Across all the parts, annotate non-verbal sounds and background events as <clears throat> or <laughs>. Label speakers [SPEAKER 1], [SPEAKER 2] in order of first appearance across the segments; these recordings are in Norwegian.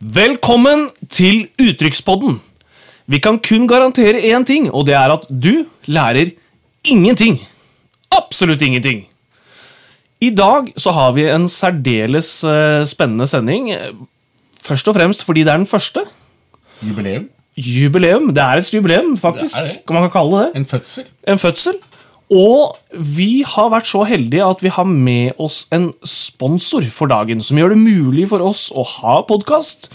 [SPEAKER 1] Velkommen til Uttrykkspodden. Vi kan kun garantere én ting, og det er at du lærer ingenting. Absolutt ingenting. I dag så har vi en særdeles eh, spennende sending. Først og fremst fordi det er den første.
[SPEAKER 2] Jubileum?
[SPEAKER 1] Jubileum. Det er et jubileum, faktisk.
[SPEAKER 2] Det er det.
[SPEAKER 1] Kan Man kan kalle det det.
[SPEAKER 2] En fødsel?
[SPEAKER 1] En fødsel. Og vi har vært så heldige at vi har med oss en sponsor for dagen, som gjør det mulig for oss å ha podkast,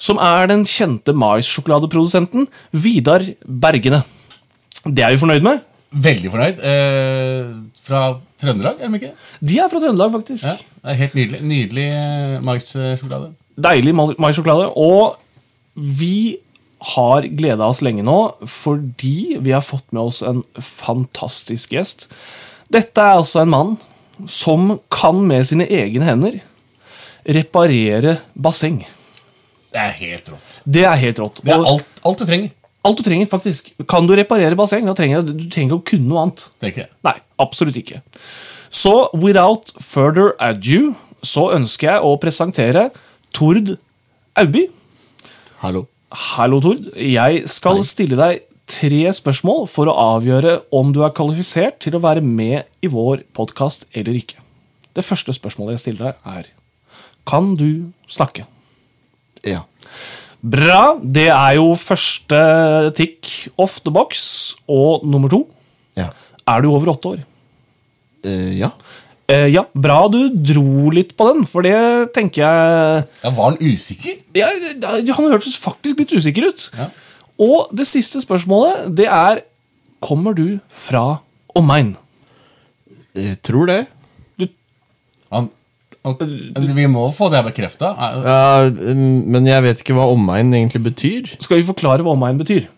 [SPEAKER 1] som er den kjente maissjokoladeprodusenten Vidar Bergene. Det er vi fornøyd med.
[SPEAKER 2] Veldig fornøyd. Eh, fra Trøndelag, er de ikke?
[SPEAKER 1] De er fra Trøndelag, faktisk.
[SPEAKER 2] Ja, det er Helt nydelig. Nydelig eh, maissjokolade.
[SPEAKER 1] Deilig ma- maissjokolade. Og vi har gleda oss lenge nå fordi vi har fått med oss en fantastisk gjest. Dette er altså en mann som kan med sine egne hender reparere basseng.
[SPEAKER 2] Det er helt rått.
[SPEAKER 1] Det er helt rått.
[SPEAKER 2] Det er
[SPEAKER 1] Og
[SPEAKER 2] alt, alt du trenger.
[SPEAKER 1] alt du trenger, faktisk. Kan du reparere basseng, da trenger du, du trenger ikke å kunne noe annet.
[SPEAKER 2] Det er ikke det.
[SPEAKER 1] Nei, absolutt ikke. Så without further ado så ønsker jeg å presentere Tord Auby.
[SPEAKER 3] Hallo.
[SPEAKER 1] Hallo, Tord. Jeg skal stille deg tre spørsmål for å avgjøre om du er kvalifisert til å være med i vår podkast eller ikke. Det første spørsmålet jeg stiller deg, er Kan du snakke?
[SPEAKER 3] Ja.
[SPEAKER 1] Bra! Det er jo første tick off the box. Og nummer to
[SPEAKER 3] Ja.
[SPEAKER 1] Er du over åtte år?
[SPEAKER 3] Eh, ja.
[SPEAKER 1] Eh, ja, bra du dro litt på den, for det tenker jeg
[SPEAKER 2] Ja, var han usikker?
[SPEAKER 1] ja, det- Han hørtes faktisk litt usikker ut.
[SPEAKER 2] Ja.
[SPEAKER 1] Og det siste spørsmålet, det er Kommer du fra omegn?
[SPEAKER 3] Jeg tror det.
[SPEAKER 2] Han, han, vi må få det bekrefta.
[SPEAKER 3] Ja, mm, men jeg vet ikke hva omegn egentlig betyr.
[SPEAKER 1] Skal vi forklare hva omegn betyr?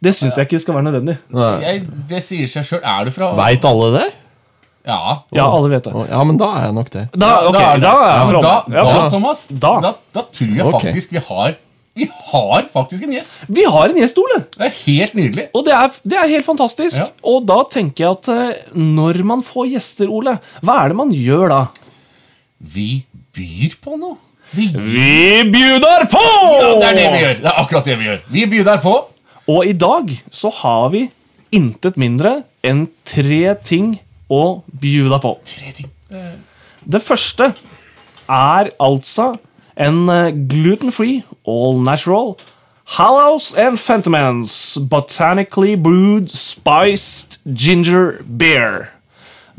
[SPEAKER 1] Det syns jeg ikke skal være nødvendig.
[SPEAKER 3] Nei.
[SPEAKER 2] Jeg- Det sier seg sjøl. Er du fra
[SPEAKER 3] Veit alle det?
[SPEAKER 2] Ja.
[SPEAKER 1] Ja, alle vet det.
[SPEAKER 3] Å, Ja, men da er jeg nok det.
[SPEAKER 1] Da, ok, da
[SPEAKER 2] er
[SPEAKER 1] er jeg
[SPEAKER 2] det- Ja,
[SPEAKER 1] fra
[SPEAKER 2] da,
[SPEAKER 1] omegn. Ja,
[SPEAKER 2] da,
[SPEAKER 1] fra-
[SPEAKER 2] Thomas, da.
[SPEAKER 1] Da.
[SPEAKER 2] Da, tror jeg
[SPEAKER 3] Ok.
[SPEAKER 2] faktisk vi har Vi har faktisk en gjest.
[SPEAKER 1] Vi har en gjest, Ole!
[SPEAKER 2] Det er helt nydelig.
[SPEAKER 1] Og det er, det er helt fantastisk.
[SPEAKER 2] Ja.
[SPEAKER 1] Og da tenker jeg at eh, når man får gjester, Ole, hva er det man gjør da?
[SPEAKER 2] Vi byr på noe. Vi
[SPEAKER 1] Vi bjudar på!
[SPEAKER 2] Ja, det er det vi gjør. Det er akkurat det vi gjør. Vi byr der på.
[SPEAKER 1] Og i dag så har vi intet mindre enn tre ting å bjuda på.
[SPEAKER 2] Tre ting.
[SPEAKER 1] Det første er altså en eh, gluten-free, all natural Hallows and Fentimans botanically brewed spiced ginger beer.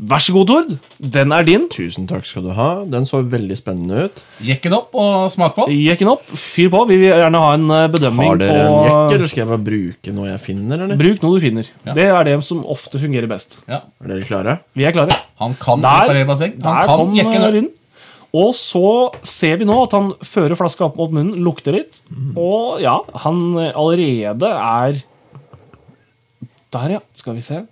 [SPEAKER 1] Vær så god, Tord. Den er din.
[SPEAKER 3] Tusen takk skal du ha. Den så veldig spennende ut.
[SPEAKER 2] Jekk den opp og smak på.
[SPEAKER 1] Jekk den opp. Fyr på. Vi vil gjerne ha en eh, bedømming
[SPEAKER 3] Har dere en
[SPEAKER 1] på eh,
[SPEAKER 3] jekke, eller skal jeg bare bruke noe jeg finner? eller?
[SPEAKER 1] Bruk noe du finner. Det er det som ofte fungerer best.
[SPEAKER 2] Ja.
[SPEAKER 3] Er dere klare?
[SPEAKER 1] Vi er klare.
[SPEAKER 2] Han kan
[SPEAKER 1] Der,
[SPEAKER 2] reparere basseng.
[SPEAKER 1] der
[SPEAKER 2] Han
[SPEAKER 1] kom eh,
[SPEAKER 2] kan jekke den opp.
[SPEAKER 1] lyden. Og så ser vi nå at han fører flaska opp mot munnen, lukter litt. Og ja, han eh, allerede er Der, ja. Skal vi se.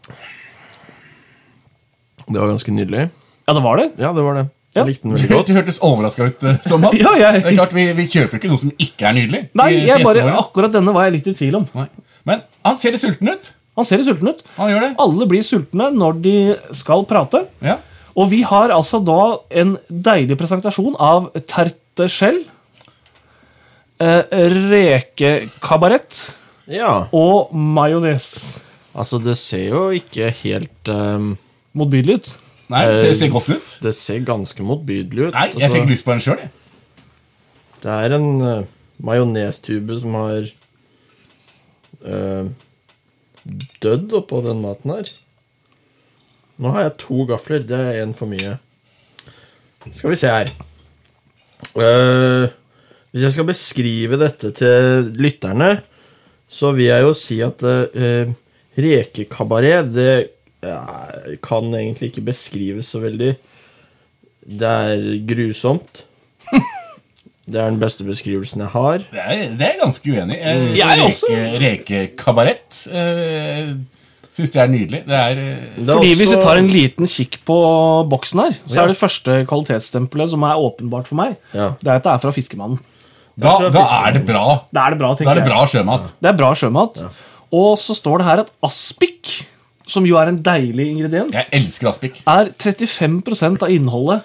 [SPEAKER 3] Det var ganske nydelig.
[SPEAKER 1] Ja, det var det.
[SPEAKER 3] Ja, det var det.
[SPEAKER 1] Ja.
[SPEAKER 3] Jeg likte den
[SPEAKER 2] <laughs>
[SPEAKER 3] veldig godt.
[SPEAKER 2] Du hørtes overraska ut, eh, Thomas.
[SPEAKER 1] Ja, jeg-
[SPEAKER 2] Det er klart, vi, vi kjøper ikke noe som ikke er nydelig.
[SPEAKER 1] Nei,
[SPEAKER 2] til- til
[SPEAKER 1] jeg bare, Ah.
[SPEAKER 2] gjestene våre.
[SPEAKER 1] akkurat denne var jeg litt i tvil om.
[SPEAKER 2] Nei. Men han ser litt sulten ut.
[SPEAKER 1] Han ser litt sulten ut.
[SPEAKER 2] Han gjør det.
[SPEAKER 1] Alle blir sultne når de skal prate.
[SPEAKER 2] Ja.
[SPEAKER 1] Og vi har altså da en deilig presentasjon av terteskjell, eh, rekekabarett
[SPEAKER 3] Ja,
[SPEAKER 1] og majones.
[SPEAKER 3] altså det ser jo ikke helt ehm,
[SPEAKER 1] Motbydelig ut.
[SPEAKER 2] Nei, det ser godt ut.
[SPEAKER 3] Det ser ganske motbydelig ut.
[SPEAKER 2] Nei, jeg
[SPEAKER 3] altså.
[SPEAKER 2] fikk lyst på den sjøl, jeg.
[SPEAKER 3] Det er en uh, majonestube som har eh, dødd oppå den maten her. Nå har jeg to gafler. Det er én for mye. Skal vi se her Eh, Hvis jeg skal beskrive dette til lytterne, så vil jeg jo si at uh, rekekabaret Det eh, kan egentlig ikke beskrives så veldig. Det er grusomt. Det er den beste beskrivelsen jeg har.
[SPEAKER 2] Det er, det er jeg ganske uenig i. Eh,
[SPEAKER 1] Mm. Jeg
[SPEAKER 2] reke-
[SPEAKER 1] også.
[SPEAKER 2] Rekekabarett eh, syns jeg er nydelig. Det er eh,
[SPEAKER 3] Det er
[SPEAKER 1] Fordi Hvis
[SPEAKER 3] også-
[SPEAKER 1] vi tar en liten kikk på boksen her, så
[SPEAKER 3] Ja.
[SPEAKER 1] er det første kvalitetsstempelet som er åpenbart for meg,
[SPEAKER 3] Ja.
[SPEAKER 1] det er at det er fra Fiskemannen.
[SPEAKER 2] da,
[SPEAKER 3] tror jeg
[SPEAKER 2] da
[SPEAKER 3] fisker-
[SPEAKER 2] er det bra.
[SPEAKER 1] Da er det bra,
[SPEAKER 2] Da
[SPEAKER 1] tenker
[SPEAKER 2] er det
[SPEAKER 1] jeg.
[SPEAKER 2] bra sjømat.
[SPEAKER 1] Det er bra sjømat. Og så står det her at aspik, som jo er en deilig ingrediens,
[SPEAKER 2] Jeg elsker aspik.
[SPEAKER 1] er 35 av innholdet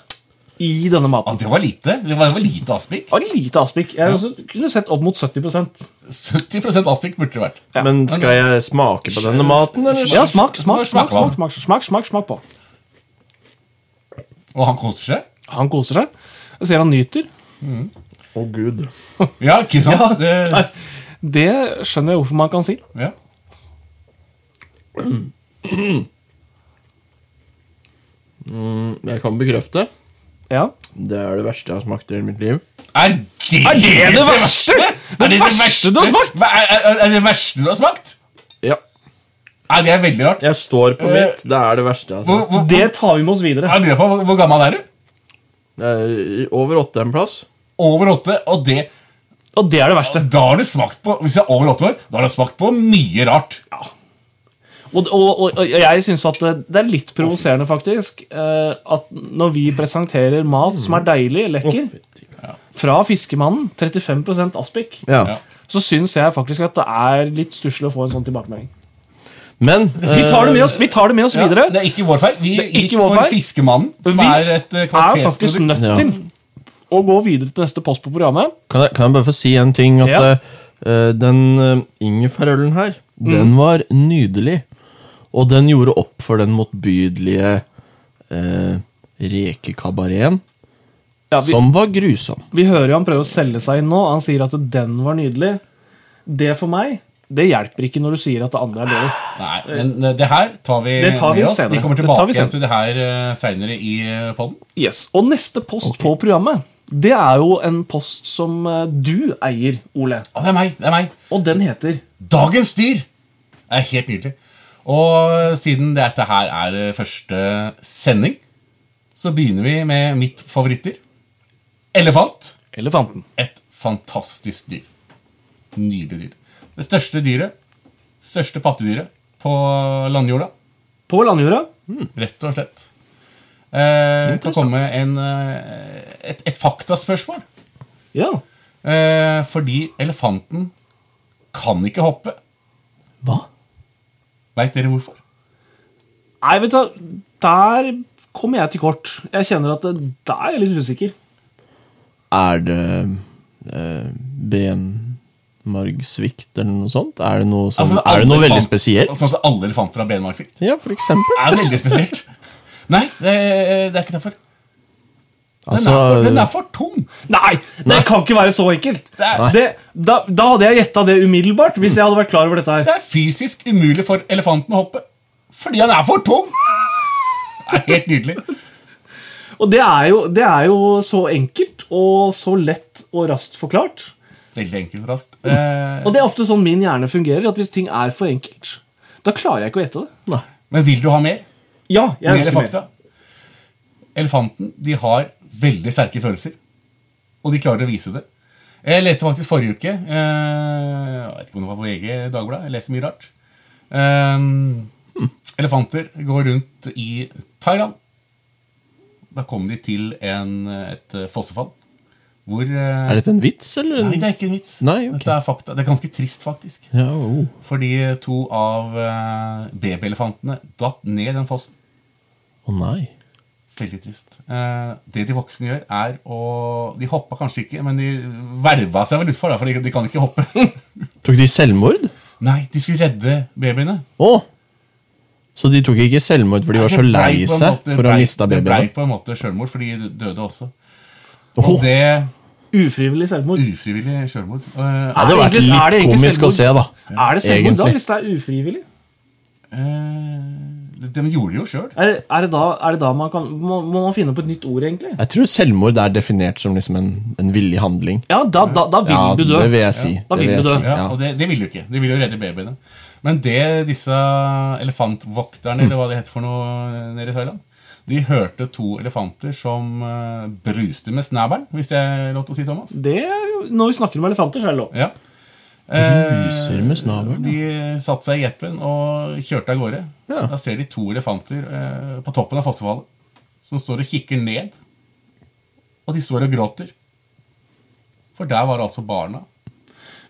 [SPEAKER 1] i denne
[SPEAKER 2] Ah,
[SPEAKER 1] maten.
[SPEAKER 2] det var lite. Det var, det var lite aspik.
[SPEAKER 1] Det var lite aspik. Jeg også kunne sett opp mot 70
[SPEAKER 2] 70 aspik burde det vært.
[SPEAKER 1] Ja.
[SPEAKER 3] Men skal jeg smake på denne maten, eller?
[SPEAKER 1] Ja, smak, smak, smak, smak,
[SPEAKER 2] Smak, smak,
[SPEAKER 1] smak, smak, smak, smak på.
[SPEAKER 2] Og han koser seg.
[SPEAKER 1] Han koser seg. Jeg ser han nyter.
[SPEAKER 3] Å, gud.
[SPEAKER 2] Ja, ikke sant?
[SPEAKER 1] Ja, <laughs> nei,
[SPEAKER 2] Det,
[SPEAKER 1] det skjønner jeg hvorfor man kan si.
[SPEAKER 2] ja.
[SPEAKER 3] Jeg kan bekrefte.
[SPEAKER 1] Ja.
[SPEAKER 3] Det er det verste jeg har smakt i hele mitt liv.
[SPEAKER 2] Er det
[SPEAKER 1] Er det det verste? Det
[SPEAKER 2] Er det
[SPEAKER 1] verste du har smakt?
[SPEAKER 2] Hva- Er, er, er det verste du har smakt?
[SPEAKER 3] Ja.
[SPEAKER 2] Nei, det er veldig rart.
[SPEAKER 3] Jeg står på
[SPEAKER 2] Eh,
[SPEAKER 3] mitt. Det er det verste jeg har
[SPEAKER 2] Hvor,
[SPEAKER 3] smakt.
[SPEAKER 2] hvor,
[SPEAKER 1] Det tar vi med oss videre.
[SPEAKER 2] jeg lurer på, hvor, hvor gammel er du?
[SPEAKER 3] Det er i- over åtte en plass.
[SPEAKER 2] Over åtte. Og det,
[SPEAKER 1] Og det er det verste.
[SPEAKER 2] da har du smakt på Hvis jeg er over åtte år, da har du smakt på mye rart.
[SPEAKER 1] Og, og, og, og jeg syns at det det er litt provoserende, faktisk, eh, at når vi presenterer mat som er deilig, lekker, fra Fiskemannen, 35 aspik,
[SPEAKER 3] Ja.
[SPEAKER 2] Ja.
[SPEAKER 1] så syns jeg faktisk at det er litt stusslig å få en sånn tilbakemelding.
[SPEAKER 3] Men
[SPEAKER 1] <laughs> Vi tar det med oss, vi tar det med oss
[SPEAKER 2] Ja,
[SPEAKER 1] videre.
[SPEAKER 2] det er ikke vår feil. Vi
[SPEAKER 1] Det er ikke
[SPEAKER 2] gikk
[SPEAKER 1] vår
[SPEAKER 2] for
[SPEAKER 1] feil.
[SPEAKER 2] Fiskemannen, som
[SPEAKER 1] Vi
[SPEAKER 2] er et eh,
[SPEAKER 1] er faktisk
[SPEAKER 2] kvalitetsprodukt.
[SPEAKER 1] nødt til å gå videre til neste post på programmet.
[SPEAKER 3] eh, Kan jeg, kan jeg bare få si en ting? At
[SPEAKER 1] Ja.
[SPEAKER 3] eh, den uh, ingefærølen her,
[SPEAKER 1] Mm.
[SPEAKER 3] den var nydelig. Og den gjorde opp for den motbydelige uh, rekekabareten,
[SPEAKER 1] Ja, vi,
[SPEAKER 3] som var grusom.
[SPEAKER 1] vi hører jo han prøver å selge seg inn nå. Han sier at den var nydelig. Det for meg, det hjelper ikke når du sier at det andre er dårlig.
[SPEAKER 2] Nei, men eh, det her tar vi,
[SPEAKER 1] Det tar vi
[SPEAKER 2] med oss.
[SPEAKER 1] senere.
[SPEAKER 2] Vi kommer
[SPEAKER 1] Det tar vi
[SPEAKER 2] tilbake igjen
[SPEAKER 1] senere.
[SPEAKER 2] til det her eh, seinere i eh, podden.
[SPEAKER 1] Yes, Og neste post på programmet, det er jo en post som eh, du eier, Ole.
[SPEAKER 2] Å, det er meg! Det er meg!
[SPEAKER 1] Og den heter
[SPEAKER 2] Dagens dyr! Det er helt nydelig. Og eh, siden dette her er eh, første sending, så begynner vi med mitt favorittdyr. Elefant.
[SPEAKER 1] Elefanten.
[SPEAKER 2] Et fantastisk dyr. Nydelig dyr. Det største dyret. Største pattedyret på landjorda.
[SPEAKER 1] På landjorda.
[SPEAKER 2] Rett og slett. Eh, det kan komme en, eh, et, et faktaspørsmål.
[SPEAKER 1] Ja.
[SPEAKER 2] Eh, fordi elefanten kan ikke hoppe.
[SPEAKER 3] Hva?
[SPEAKER 2] Veit dere hvorfor?
[SPEAKER 1] Nei, vet du hva, der kommer jeg til kort. Jeg kjenner at det, der er jeg litt usikker.
[SPEAKER 3] Er det eh, benmargsvikt eller noe sånt? Er det noe, som,
[SPEAKER 2] Altså,
[SPEAKER 3] er
[SPEAKER 2] alle
[SPEAKER 3] det noe veldig
[SPEAKER 2] elefant-
[SPEAKER 3] spesielt?
[SPEAKER 2] Sånn at alle elefanter har benmargsvikt?
[SPEAKER 3] Ja, for eksempel.
[SPEAKER 2] Det er veldig spesielt. <laughs> Nei, det, det er ikke derfor. Den,
[SPEAKER 3] Altså,
[SPEAKER 2] er for, den er for tung.
[SPEAKER 1] Nei, det kan ikke være så enkelt!
[SPEAKER 2] Det er,
[SPEAKER 3] Nei.
[SPEAKER 1] Det, da, da hadde jeg gjetta det umiddelbart. hvis jeg hadde vært klar over dette her.
[SPEAKER 2] det er fysisk umulig for elefanten å hoppe. Fordi han er for tung! <laughs> Det er helt nydelig.
[SPEAKER 1] Og det er, jo, det er jo så enkelt og så lett og raskt forklart.
[SPEAKER 2] Veldig enkelt og raskt. Eh,
[SPEAKER 1] Og det er ofte sånn min hjerne fungerer, at hvis ting er for enkelt, da klarer jeg ikke å gjette det.
[SPEAKER 3] Nei.
[SPEAKER 2] men vil du ha mer?
[SPEAKER 1] Ja, jeg
[SPEAKER 2] Mer
[SPEAKER 1] ønsker mer.
[SPEAKER 2] fakta? Elefanten de har veldig sterke følelser. Og de klarer å vise det. Jeg leste faktisk forrige uke eh, Jeg vet ikke om det var på VG Dagbladet. Jeg leser mye rart. Ehm, Elefanter går rundt i Thailand. Da kom de til en, et eh, fossefall. Hvor eh,
[SPEAKER 3] Er dette en vits, eller? en-
[SPEAKER 2] Nei, det er ikke en vits.
[SPEAKER 3] Nei, ok.
[SPEAKER 2] Dette er fakta. Det er ganske trist, faktisk.
[SPEAKER 3] Ja, oh.
[SPEAKER 2] Fordi to av eh, babyelefantene datt ned den fossen.
[SPEAKER 3] Å nei.
[SPEAKER 2] Veldig trist. Eh, det de voksne gjør, er å De hoppa kanskje ikke, men de verva seg vel utfor, da, for de, de kan ikke hoppe.
[SPEAKER 3] <laughs> Tok de selvmord?
[SPEAKER 2] Nei, de skulle redde babyene.
[SPEAKER 3] Å! Så de tok ikke selvmord fordi de var så
[SPEAKER 2] Det ble
[SPEAKER 3] lei
[SPEAKER 2] på en
[SPEAKER 3] seg
[SPEAKER 2] måte-
[SPEAKER 3] for å ha
[SPEAKER 2] ble-
[SPEAKER 3] mista
[SPEAKER 2] Det ble
[SPEAKER 3] babyene?
[SPEAKER 2] på en måte sjølmord, for de døde også. Og
[SPEAKER 3] Åh,
[SPEAKER 2] det
[SPEAKER 1] Ufrivillig selvmord.
[SPEAKER 2] Ufrivillig sjølmord. Eh,
[SPEAKER 3] det hadde vært
[SPEAKER 1] Egentlig- er
[SPEAKER 3] litt
[SPEAKER 1] det egentlig
[SPEAKER 3] komisk å se, da.
[SPEAKER 1] Er det selvmord
[SPEAKER 3] Egentlig.
[SPEAKER 2] liksom?
[SPEAKER 1] da, hvis det er ufrivillig?
[SPEAKER 2] eh, de, de gjorde det jo sjøl.
[SPEAKER 1] Er, er, det, da, er det da man kan må, må man finne på et nytt ord, egentlig?
[SPEAKER 3] Jeg tror selvmord er definert som liksom en, en villig handling.
[SPEAKER 1] Ja, da, da, da vil
[SPEAKER 3] Ja,
[SPEAKER 1] du dø.
[SPEAKER 3] det vil jeg si.
[SPEAKER 1] da
[SPEAKER 3] det
[SPEAKER 1] vil du
[SPEAKER 3] vil jeg
[SPEAKER 1] dø.
[SPEAKER 3] si.
[SPEAKER 2] Ja,
[SPEAKER 3] Ja.
[SPEAKER 2] og det, det ville jo ikke. De ville jo redde babyene. Men det disse elefantvokterne, eller hva det heter for noe eh, nede i Thailand, De hørte to elefanter som eh, bruste med snabelen, hvis jeg lov til å si, Thomas.
[SPEAKER 1] Det er jo, når vi snakker om elefanter, så er det lov.
[SPEAKER 2] Ja. Eh,
[SPEAKER 3] Bruser med snabelen,
[SPEAKER 2] De satte seg i jeppen og kjørte av gårde.
[SPEAKER 3] Ja.
[SPEAKER 2] Da ser de to elefanter eh, på toppen av fossefallet som står og kikker ned. Og de står og gråter. For der var altså barna.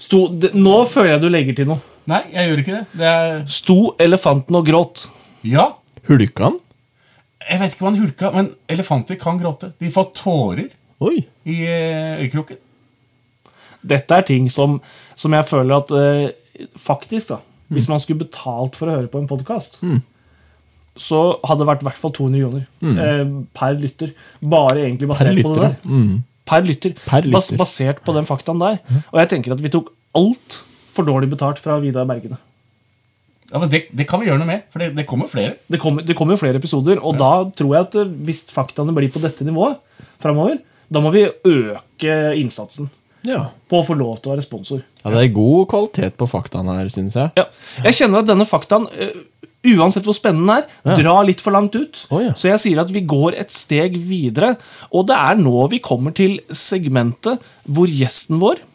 [SPEAKER 1] Sto, det, nå føler jeg du legger til noe.
[SPEAKER 2] Nei, jeg gjør ikke det. det er,
[SPEAKER 1] Sto elefanten og gråt?
[SPEAKER 2] ja,
[SPEAKER 3] Hulka han?
[SPEAKER 2] jeg vet ikke om han hulka, men elefanter kan gråte. De får tårer
[SPEAKER 3] Oi.
[SPEAKER 2] i eh, øyekroken.
[SPEAKER 1] Dette er ting som, som jeg føler at eh, Faktisk, da. Hvis man skulle betalt for å høre på en podkast, så hadde det vært i hvert fall 200 kroner eh, per lytter. Bare egentlig basert
[SPEAKER 3] Per
[SPEAKER 1] på
[SPEAKER 3] lytter, Mm.
[SPEAKER 1] det der. Per lytter.
[SPEAKER 3] Per lytter.
[SPEAKER 1] Bas, basert på den faktaen der. Og jeg tenker at vi tok alt for dårlig betalt fra Vidar Bergene.
[SPEAKER 2] Ja, men det, det kan vi gjøre noe med, for det, det kommer flere.
[SPEAKER 1] Det kommer det kommer jo flere episoder, og da tror jeg at eh, hvis faktaene blir på dette nivået framover, da må vi øke innsatsen
[SPEAKER 3] Ja.
[SPEAKER 1] på å få lov til å være sponsor.
[SPEAKER 3] ja. Det er god kvalitet på faktaene her, syns jeg.
[SPEAKER 1] Ja. Jeg kjenner at denne faktaen, eh, uansett hvor spennende den er,
[SPEAKER 3] Ja.
[SPEAKER 1] drar litt for langt ut.
[SPEAKER 3] Å, ja.
[SPEAKER 1] Så jeg sier at vi går et steg videre. Og det er nå vi kommer til segmentet hvor gjesten vår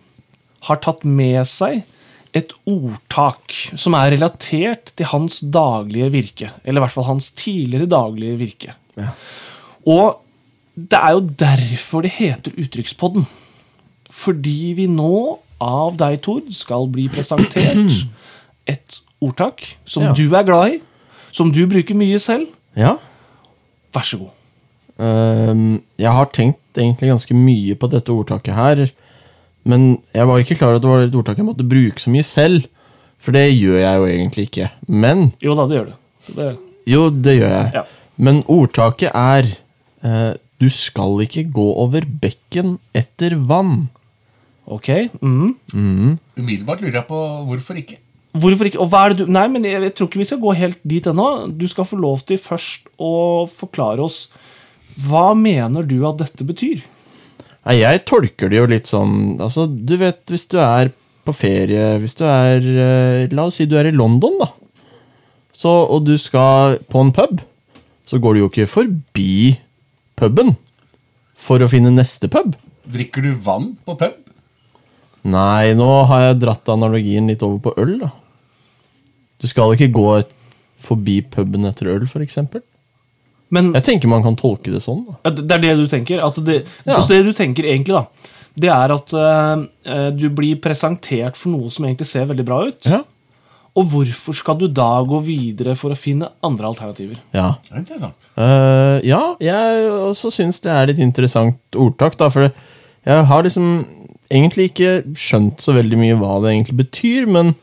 [SPEAKER 1] har tatt med seg et ordtak som er relatert til hans daglige virke. Eller i hvert fall hans tidligere daglige virke.
[SPEAKER 3] Ja.
[SPEAKER 1] Og det er jo derfor det heter Uttrykkspodden. Fordi vi nå, av deg, Tord, skal bli presentert
[SPEAKER 3] <clears throat>
[SPEAKER 1] et ordtak som
[SPEAKER 3] Ja.
[SPEAKER 1] du er glad i, som du bruker mye selv.
[SPEAKER 3] ja.
[SPEAKER 1] Vær så god.
[SPEAKER 3] Ehm, jeg har tenkt egentlig ganske mye på dette ordtaket her, men jeg var ikke klar over at det var et ordtak jeg måtte bruke så mye selv, for det gjør jeg jo egentlig ikke. Men
[SPEAKER 1] Jo da, det gjør du. Det,
[SPEAKER 3] jo, det gjør jeg.
[SPEAKER 1] Ja.
[SPEAKER 3] Men ordtaket er eh, Du skal ikke gå over bekken etter vann.
[SPEAKER 1] ok. Mm.
[SPEAKER 2] Umiddelbart lurer jeg på hvorfor ikke.
[SPEAKER 1] Hvorfor ikke? Og hva er det du Nei, men jeg, jeg tror ikke vi skal gå helt dit ennå. Du skal få lov til først å forklare oss hva mener du at dette betyr?
[SPEAKER 3] Nei, jeg tolker det jo litt sånn Altså, du vet, hvis du er på ferie Hvis du er eh, La oss si du er i London, da. Så, og du skal på en pub, så går du jo ikke forbi puben for å finne neste pub.
[SPEAKER 2] Drikker du vann på pub?
[SPEAKER 3] Nei, nå har jeg dratt analogien litt over på øl, da. Du skal ikke gå et, forbi puben etter øl, f.eks.
[SPEAKER 1] Men
[SPEAKER 3] Jeg tenker man kan tolke det sånn, da.
[SPEAKER 1] Ja, Det det er det du tenker? At det,
[SPEAKER 3] Ja.
[SPEAKER 1] altså det du tenker egentlig, da, det er at eh, eh, du blir presentert for noe som egentlig ser veldig bra ut.
[SPEAKER 3] Ja.
[SPEAKER 1] Og hvorfor skal du da gå videre for å finne andre alternativer?
[SPEAKER 3] ja.
[SPEAKER 2] Det er interessant.
[SPEAKER 3] Eh, ja, jeg også syns det er litt interessant ordtak, da, for det- jeg har liksom egentlig ikke skjønt så veldig mye hva det egentlig betyr, men,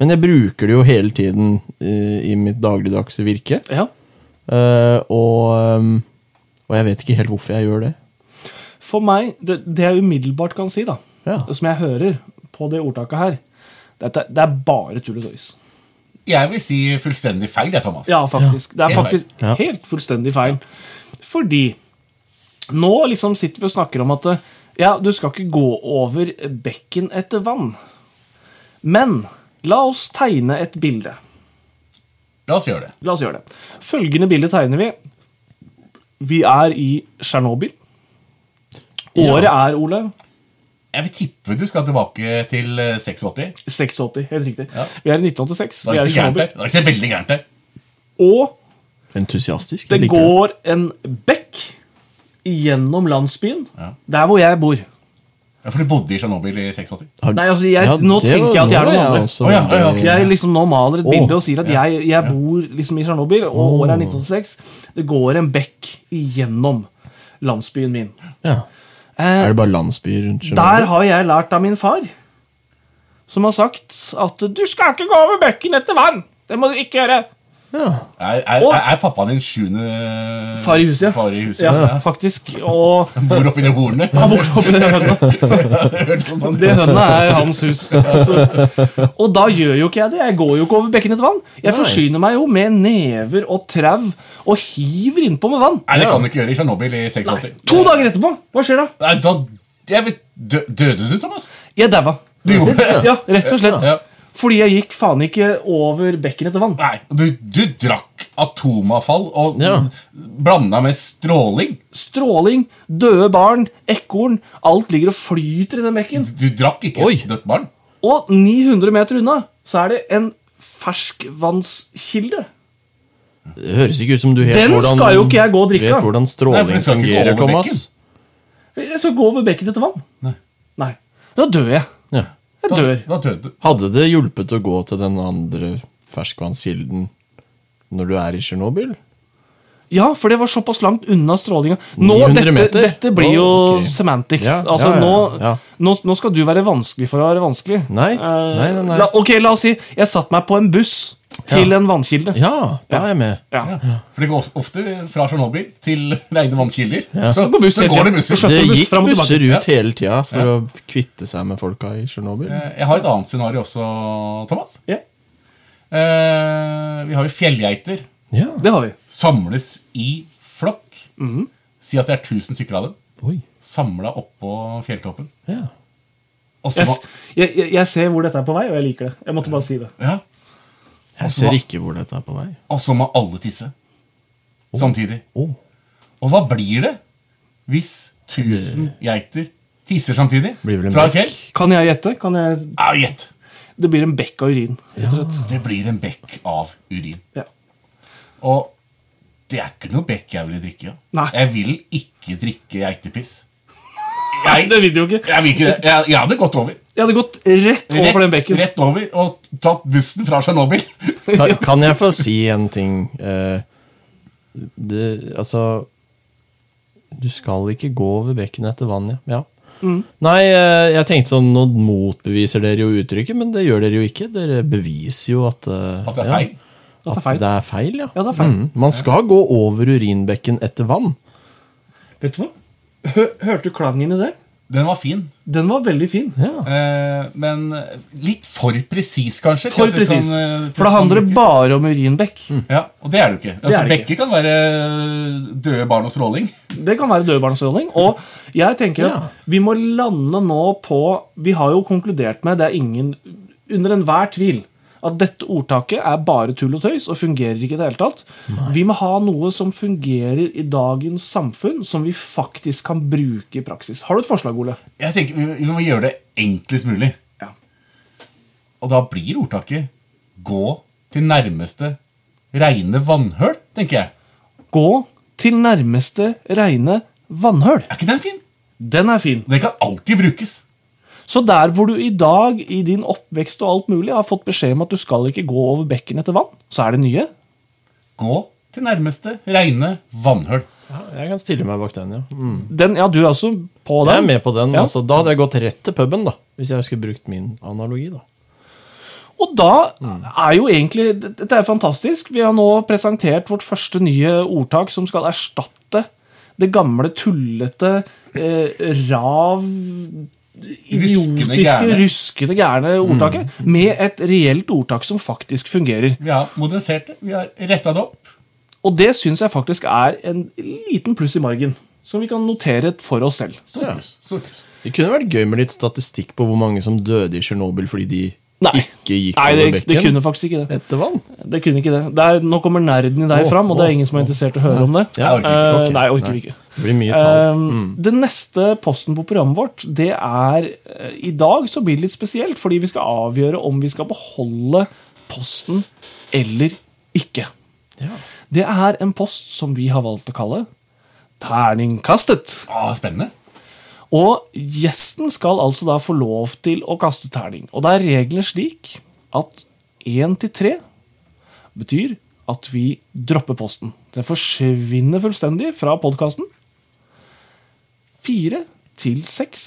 [SPEAKER 3] men jeg bruker det jo hele tiden eh, i mitt dagligdagse virke.
[SPEAKER 1] Ja,
[SPEAKER 3] Eh, og, ehm, og jeg vet ikke helt hvorfor jeg gjør det.
[SPEAKER 1] For meg, det, det jeg umiddelbart kan si, da,
[SPEAKER 3] Ja.
[SPEAKER 1] som jeg hører på det ordtaket her, dette, det er bare tull og tøys.
[SPEAKER 2] Jeg vil si fullstendig feil, jeg, Thomas.
[SPEAKER 1] Ja, faktisk. Det er
[SPEAKER 2] Helt
[SPEAKER 1] faktisk
[SPEAKER 3] feil. Ja.
[SPEAKER 1] helt fullstendig feil. Fordi nå liksom sitter vi og snakker om at eh, ja, du skal ikke gå over bekken etter vann. Men la oss tegne et bilde.
[SPEAKER 2] La oss gjøre det.
[SPEAKER 1] La oss gjøre det. Følgende bilde tegner vi. Vi er i Tsjernobyl. Året er, Ole,
[SPEAKER 2] Jeg vil tippe du skal tilbake til eh, 86.
[SPEAKER 1] 86. Helt riktig.
[SPEAKER 2] Ja.
[SPEAKER 1] Vi er i 1986.
[SPEAKER 2] Da
[SPEAKER 1] Vi er i
[SPEAKER 2] gikk det gærent
[SPEAKER 1] Tsjernobyl.
[SPEAKER 2] der. Da gikk det veldig gærent der.
[SPEAKER 1] Og
[SPEAKER 3] Entusiastisk. jeg
[SPEAKER 1] Det
[SPEAKER 3] liker
[SPEAKER 1] går en bekk gjennom landsbyen,
[SPEAKER 2] Ja.
[SPEAKER 1] der hvor jeg bor.
[SPEAKER 2] Ja, For du bodde i Tsjernobyl i 86.
[SPEAKER 3] Har-
[SPEAKER 1] Nei, altså, jeg- nå
[SPEAKER 3] det altså,
[SPEAKER 1] tenker jeg at jeg er
[SPEAKER 3] nå
[SPEAKER 1] noen andre.
[SPEAKER 3] også
[SPEAKER 2] Å, ja, ja, ja,
[SPEAKER 3] veldig-
[SPEAKER 2] ok.
[SPEAKER 1] Jeg liksom nå maler et
[SPEAKER 3] Åh,
[SPEAKER 1] bilde og sier at jeg, jeg bor liksom i Tsjernobyl, og året er 1986. Det går en bekk igjennom landsbyen min.
[SPEAKER 3] ja.
[SPEAKER 1] Eh,
[SPEAKER 3] Er det bare landsbyer rundt
[SPEAKER 1] der
[SPEAKER 3] Tsjernobyl?
[SPEAKER 1] har jeg lært av min far, som har sagt at 'du skal ikke gå over bekken etter vann'. Det må du ikke gjøre.
[SPEAKER 3] Ja.
[SPEAKER 2] Er, er,
[SPEAKER 1] Å.
[SPEAKER 2] er, er pappaen din sjuende
[SPEAKER 1] Far i huset, ja.
[SPEAKER 2] Far i huset,
[SPEAKER 1] Ja,
[SPEAKER 2] ja.
[SPEAKER 1] faktisk. Og
[SPEAKER 2] Bor oppi det hornet.
[SPEAKER 1] han bor oppi det hønet.
[SPEAKER 2] <laughs> Det hørtes sånn ut.
[SPEAKER 1] Det hønet er hans hus. Så- Og da gjør jo ikke jeg det. Jeg går jo ikke over bekken etter vann. Jeg
[SPEAKER 3] Nei.
[SPEAKER 1] forsyner meg jo med never og trau og hiver innpå med vann.
[SPEAKER 2] Nei, det kan du ikke gjøre i Tsjernobyl i 86.
[SPEAKER 1] To dager etterpå, hva skjer da?
[SPEAKER 2] Nei, da jeg vet, dø, Døde du, Thomas?
[SPEAKER 1] Jeg daua.
[SPEAKER 2] Du gjorde det?
[SPEAKER 1] Ja, rett og slett.
[SPEAKER 2] Ja.
[SPEAKER 1] Fordi jeg gikk faen ikke over bekken etter vann.
[SPEAKER 2] Nei, du, du drakk atomavfall og
[SPEAKER 3] Ja.
[SPEAKER 2] blanda med stråling.
[SPEAKER 1] Stråling, døde barn, ekorn. Alt ligger og flyter i den bekken.
[SPEAKER 2] Du drakk ikke
[SPEAKER 3] Oi.
[SPEAKER 2] et dødt barn.
[SPEAKER 1] Og 900 meter unna så er det en ferskvannskilde.
[SPEAKER 3] Det høres ikke ut som du helt
[SPEAKER 1] Den
[SPEAKER 3] hvordan,
[SPEAKER 1] skal jo ikke jeg gå og drikke av.
[SPEAKER 3] vet hvordan
[SPEAKER 2] Nei, for
[SPEAKER 3] stråling
[SPEAKER 2] den skal ikke gå
[SPEAKER 3] fungerer,
[SPEAKER 2] over
[SPEAKER 3] Thomas.
[SPEAKER 2] bekken.
[SPEAKER 1] Jeg skal gå over bekken etter vann.
[SPEAKER 2] Nei.
[SPEAKER 1] Nei. Da dør jeg.
[SPEAKER 3] Ja.
[SPEAKER 1] Jeg
[SPEAKER 2] Da,
[SPEAKER 1] dør.
[SPEAKER 2] da døde du.
[SPEAKER 3] Hadde det hjulpet å gå til den andre ferskvannskilden når du er i Tsjernobyl?
[SPEAKER 1] Ja, for det var såpass langt unna strålinga. Nå,
[SPEAKER 3] 900
[SPEAKER 1] dette,
[SPEAKER 3] meter?
[SPEAKER 1] dette blir jo
[SPEAKER 3] Å, ok.
[SPEAKER 1] semantics.
[SPEAKER 3] Ja, ja,
[SPEAKER 1] altså,
[SPEAKER 3] ja,
[SPEAKER 1] nå,
[SPEAKER 3] ja.
[SPEAKER 1] Nå, nå skal du være vanskelig for å være vanskelig.
[SPEAKER 3] Nei,
[SPEAKER 1] Eh,
[SPEAKER 3] nei, nei, nei.
[SPEAKER 1] La, ok, la oss si jeg satte meg på en buss til
[SPEAKER 3] Ja.
[SPEAKER 1] en vannkilde. Ja.
[SPEAKER 3] Ja, da er jeg med.
[SPEAKER 2] Ja. For det går of- ofte fra Tsjernobyl til <laughs> reine vannkilder. Så,
[SPEAKER 1] Det går buss
[SPEAKER 2] så
[SPEAKER 1] hele
[SPEAKER 2] går
[SPEAKER 1] tiden.
[SPEAKER 2] det busser.
[SPEAKER 1] Skjønner.
[SPEAKER 3] Det
[SPEAKER 1] buss
[SPEAKER 3] gikk
[SPEAKER 1] frem og
[SPEAKER 3] busser
[SPEAKER 2] tilbake.
[SPEAKER 3] ut hele tida for å kvitte seg med folka i Tsjernobyl.
[SPEAKER 2] Eh, Jeg har et annet scenario også, Thomas. Eh, vi har jo fjellgeiter.
[SPEAKER 3] Ja.
[SPEAKER 1] Det har vi.
[SPEAKER 2] Samles i flokk.
[SPEAKER 1] Mhm.
[SPEAKER 2] Si at det er 1000 stykker av dem.
[SPEAKER 3] Oi.
[SPEAKER 2] Samla oppå fjelltoppen.
[SPEAKER 3] Ja.
[SPEAKER 2] Og så
[SPEAKER 1] Jeg,
[SPEAKER 2] må-
[SPEAKER 1] s- jeg, jeg- jeg ser hvor dette er på vei, og jeg liker det. Jeg måtte bare si det.
[SPEAKER 2] ja,
[SPEAKER 3] Jeg ser ikke hvor dette er på vei.
[SPEAKER 2] og så må alle tisse. Samtidig.
[SPEAKER 3] Å.
[SPEAKER 2] Og hva blir det hvis 1000 geiter tisser samtidig?
[SPEAKER 3] Blir vel en
[SPEAKER 2] Fra et
[SPEAKER 3] bekk.
[SPEAKER 2] fjell?
[SPEAKER 1] Kan jeg gjette? Kan jeg...
[SPEAKER 2] Ja, gjett!
[SPEAKER 1] Det blir en bekk av urin. rett og slett.
[SPEAKER 2] Det blir en bekk av urin.
[SPEAKER 1] Ja.
[SPEAKER 2] Og det er ikke noe bekk jeg ville drikke av.
[SPEAKER 1] Nei.
[SPEAKER 2] Jeg vil ikke drikke geitepiss.
[SPEAKER 1] Nei, det
[SPEAKER 2] Jeg,
[SPEAKER 1] vil du jo ikke.
[SPEAKER 2] jeg vil ikke det. Jeg, jeg hadde gått over.
[SPEAKER 1] Jeg hadde gått rett
[SPEAKER 2] Rett,
[SPEAKER 1] over den bekken.
[SPEAKER 2] rett over og tatt bussen fra Tsjernobyl.
[SPEAKER 3] Kan, kan jeg få si en ting? Eh, det, altså Du skal ikke gå over bekken etter vann, ja. ja.
[SPEAKER 1] Mm.
[SPEAKER 3] Nei, eh, jeg tenkte sånn Nå motbeviser dere jo uttrykket, men det gjør dere jo ikke. Dere beviser jo at eh,
[SPEAKER 2] At det er
[SPEAKER 3] ja,
[SPEAKER 2] feil.
[SPEAKER 1] At det er
[SPEAKER 3] At
[SPEAKER 1] feil.
[SPEAKER 3] det er feil, ja.
[SPEAKER 1] Ja, det er feil.
[SPEAKER 3] Mm. Man skal gå over urinbekken etter vann.
[SPEAKER 1] Vet du hva? Hø hørte du klangen i det?
[SPEAKER 2] Den var fin,
[SPEAKER 1] Den var veldig fin.
[SPEAKER 3] Ja.
[SPEAKER 2] eh, men litt for presis, kanskje. til
[SPEAKER 1] For
[SPEAKER 2] at du kan,
[SPEAKER 1] presis.
[SPEAKER 2] eh,
[SPEAKER 1] For det handler bare om urinbekk.
[SPEAKER 2] Ja, Og det er det jo ikke. Altså,
[SPEAKER 1] er det ikke.
[SPEAKER 2] Bekker kan være døde barn og stråling.
[SPEAKER 1] Det kan være dødbarnsstråling. Og jeg tenker
[SPEAKER 3] Ja.
[SPEAKER 1] at vi må lande nå på Vi har jo konkludert med, det er ingen under enhver tvil, at dette ordtaket er bare tull og tøys og fungerer ikke i det hele tatt. Vi må ha noe som fungerer i dagens samfunn, som vi faktisk kan bruke i praksis. Har du et forslag, Ole?
[SPEAKER 2] Jeg tenker Vi vi må gjøre det enklest mulig.
[SPEAKER 1] Ja.
[SPEAKER 2] Og da blir ordtaket 'gå til nærmeste reine vannhøl', tenker jeg.
[SPEAKER 1] Gå til nærmeste reine vannhøl.
[SPEAKER 2] Er ikke den fin?
[SPEAKER 1] Den er fin.
[SPEAKER 2] Den kan alltid brukes.
[SPEAKER 1] Så der hvor du i dag i din oppvekst og alt mulig har fått beskjed om at du skal ikke gå over bekken etter vann, så er det nye.
[SPEAKER 2] Gå til nærmeste reine vannhøl.
[SPEAKER 3] ja. Jeg kan stille meg bak den, ja. Mm.
[SPEAKER 1] Den, ja, du er også på
[SPEAKER 3] Jeg er
[SPEAKER 1] den.
[SPEAKER 3] med på den.
[SPEAKER 1] Ja.
[SPEAKER 3] Altså, da hadde jeg gått rett til puben, da. Hvis jeg skulle brukt min analogi, da.
[SPEAKER 1] Og da er jo egentlig Dette er fantastisk. Vi har nå presentert vårt første nye ordtak som skal erstatte det gamle, tullete, eh, rav
[SPEAKER 2] Ruskende
[SPEAKER 1] Idiotiske,
[SPEAKER 2] gærne.
[SPEAKER 1] ruskende gærne ordtaket
[SPEAKER 3] Mm.
[SPEAKER 1] med et reelt ordtak som faktisk fungerer.
[SPEAKER 2] Vi har modernisert det, vi har retta det opp.
[SPEAKER 1] Og det syns jeg faktisk er en liten pluss i margen, som vi kan notere for oss selv.
[SPEAKER 2] Stort pluss. stort pluss.
[SPEAKER 3] Det kunne vært gøy med litt statistikk på hvor mange som døde i Tsjernobyl fordi de
[SPEAKER 1] Nei.
[SPEAKER 3] ikke gikk
[SPEAKER 1] Nei, det,
[SPEAKER 3] over bekken.
[SPEAKER 1] det kunne faktisk ikke det.
[SPEAKER 3] Etter vann?
[SPEAKER 1] det, kunne ikke det. det er, nå kommer nerden i deg
[SPEAKER 3] Åh,
[SPEAKER 1] fram, og det
[SPEAKER 3] åh,
[SPEAKER 1] er ingen som er interessert i å høre om det.
[SPEAKER 3] Ja, jeg orker ikke.
[SPEAKER 1] Eh,
[SPEAKER 3] Ok.
[SPEAKER 1] Nei, jeg orker
[SPEAKER 3] Nei.
[SPEAKER 1] ikke.
[SPEAKER 3] Det blir mye tall. Mm.
[SPEAKER 1] Eh, Den neste posten på programmet vårt, det er eh, I dag så blir det litt spesielt, fordi vi skal avgjøre om vi skal beholde posten eller ikke.
[SPEAKER 3] Ja.
[SPEAKER 1] Det er en post som vi har valgt å kalle Terningkastet.
[SPEAKER 2] Ah, spennende.
[SPEAKER 1] Og gjesten skal altså da få lov til å kaste terning. Og da er reglene slik at én til tre betyr at vi dropper posten. Den forsvinner fullstendig fra podkasten. Fire til seks.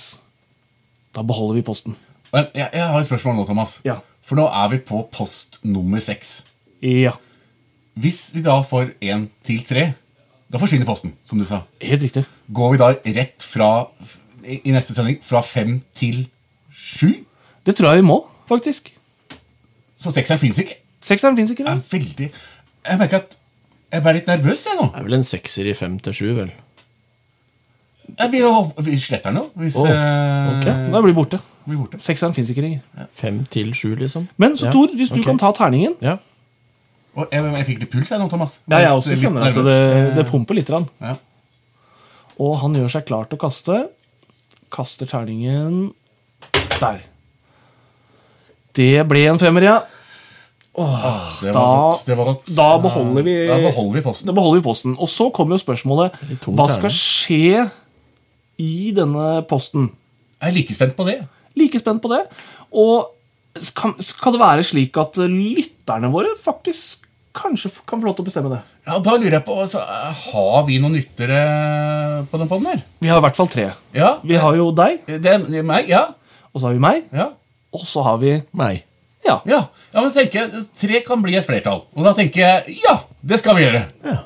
[SPEAKER 1] Da beholder vi posten.
[SPEAKER 2] Men Jeg, jeg har et spørsmål nå, Thomas.
[SPEAKER 1] Ja.
[SPEAKER 2] For nå er vi på post nummer seks.
[SPEAKER 1] Ja,
[SPEAKER 2] Hvis vi da får én til tre, da forsvinner posten, som du sa.
[SPEAKER 1] helt riktig.
[SPEAKER 2] Går vi da rett fra i i neste sending fra fem til sju?
[SPEAKER 1] Det tror jeg vi må, faktisk.
[SPEAKER 2] Så sekseren fins ikke.
[SPEAKER 1] Sekseren fins ikke.
[SPEAKER 2] Jeg
[SPEAKER 1] vel?
[SPEAKER 2] er veldig Jeg merker at jeg ble litt nervøs, jeg nå.
[SPEAKER 3] Det er vel en sekser i fem til sju, vel.
[SPEAKER 2] Jeg vil, jo- vi sletter den jo, hvis
[SPEAKER 3] Åh,
[SPEAKER 2] eh,
[SPEAKER 3] ok.
[SPEAKER 1] Da blir det borte.
[SPEAKER 2] blir borte.
[SPEAKER 1] Sekseren fins ikke lenger.
[SPEAKER 3] Fem til sju, liksom.
[SPEAKER 1] Men så
[SPEAKER 3] Ja,
[SPEAKER 1] Tor, hvis du
[SPEAKER 3] ok.
[SPEAKER 1] kan ta terningen
[SPEAKER 3] Ja.
[SPEAKER 2] Og jeg, jeg fikk litt puls jeg nå, Thomas.
[SPEAKER 1] Ja, jeg også
[SPEAKER 2] Litt
[SPEAKER 1] kjenner at
[SPEAKER 2] nervøs.
[SPEAKER 1] det, det
[SPEAKER 2] Eh,
[SPEAKER 1] pumper litt. grann.
[SPEAKER 2] Ja.
[SPEAKER 1] Og han gjør seg klar til å kaste. Kaster terningen Der. Det ble en femmer, ja. Da-
[SPEAKER 2] Det var godt, det var godt.
[SPEAKER 1] Da beholder vi,
[SPEAKER 2] Da beholder vi
[SPEAKER 1] da
[SPEAKER 2] posten.
[SPEAKER 1] beholder vi posten. Og så kommer jo spørsmålet
[SPEAKER 3] Litt tung
[SPEAKER 1] hva skal
[SPEAKER 3] terning.
[SPEAKER 1] skje i denne posten.
[SPEAKER 2] Jeg er like spent på det.
[SPEAKER 1] Like spent på det. Og skal, skal det være slik at lytterne våre faktisk kanskje f- kan få lov til å bestemme det?
[SPEAKER 2] Ja, Da lurer jeg på altså, Har vi noen lyttere på den podden her?
[SPEAKER 1] Vi har i hvert fall tre.
[SPEAKER 2] Ja.
[SPEAKER 1] Vi har jo deg,
[SPEAKER 2] Det er det er meg? Ja.
[SPEAKER 1] og så har vi meg,
[SPEAKER 2] Ja.
[SPEAKER 1] og så har vi
[SPEAKER 3] Meg.
[SPEAKER 1] Ja.
[SPEAKER 2] ja. ja men tenker jeg, Tre kan bli et flertall. Og da tenker jeg ja, det skal vi gjøre.
[SPEAKER 3] Ja.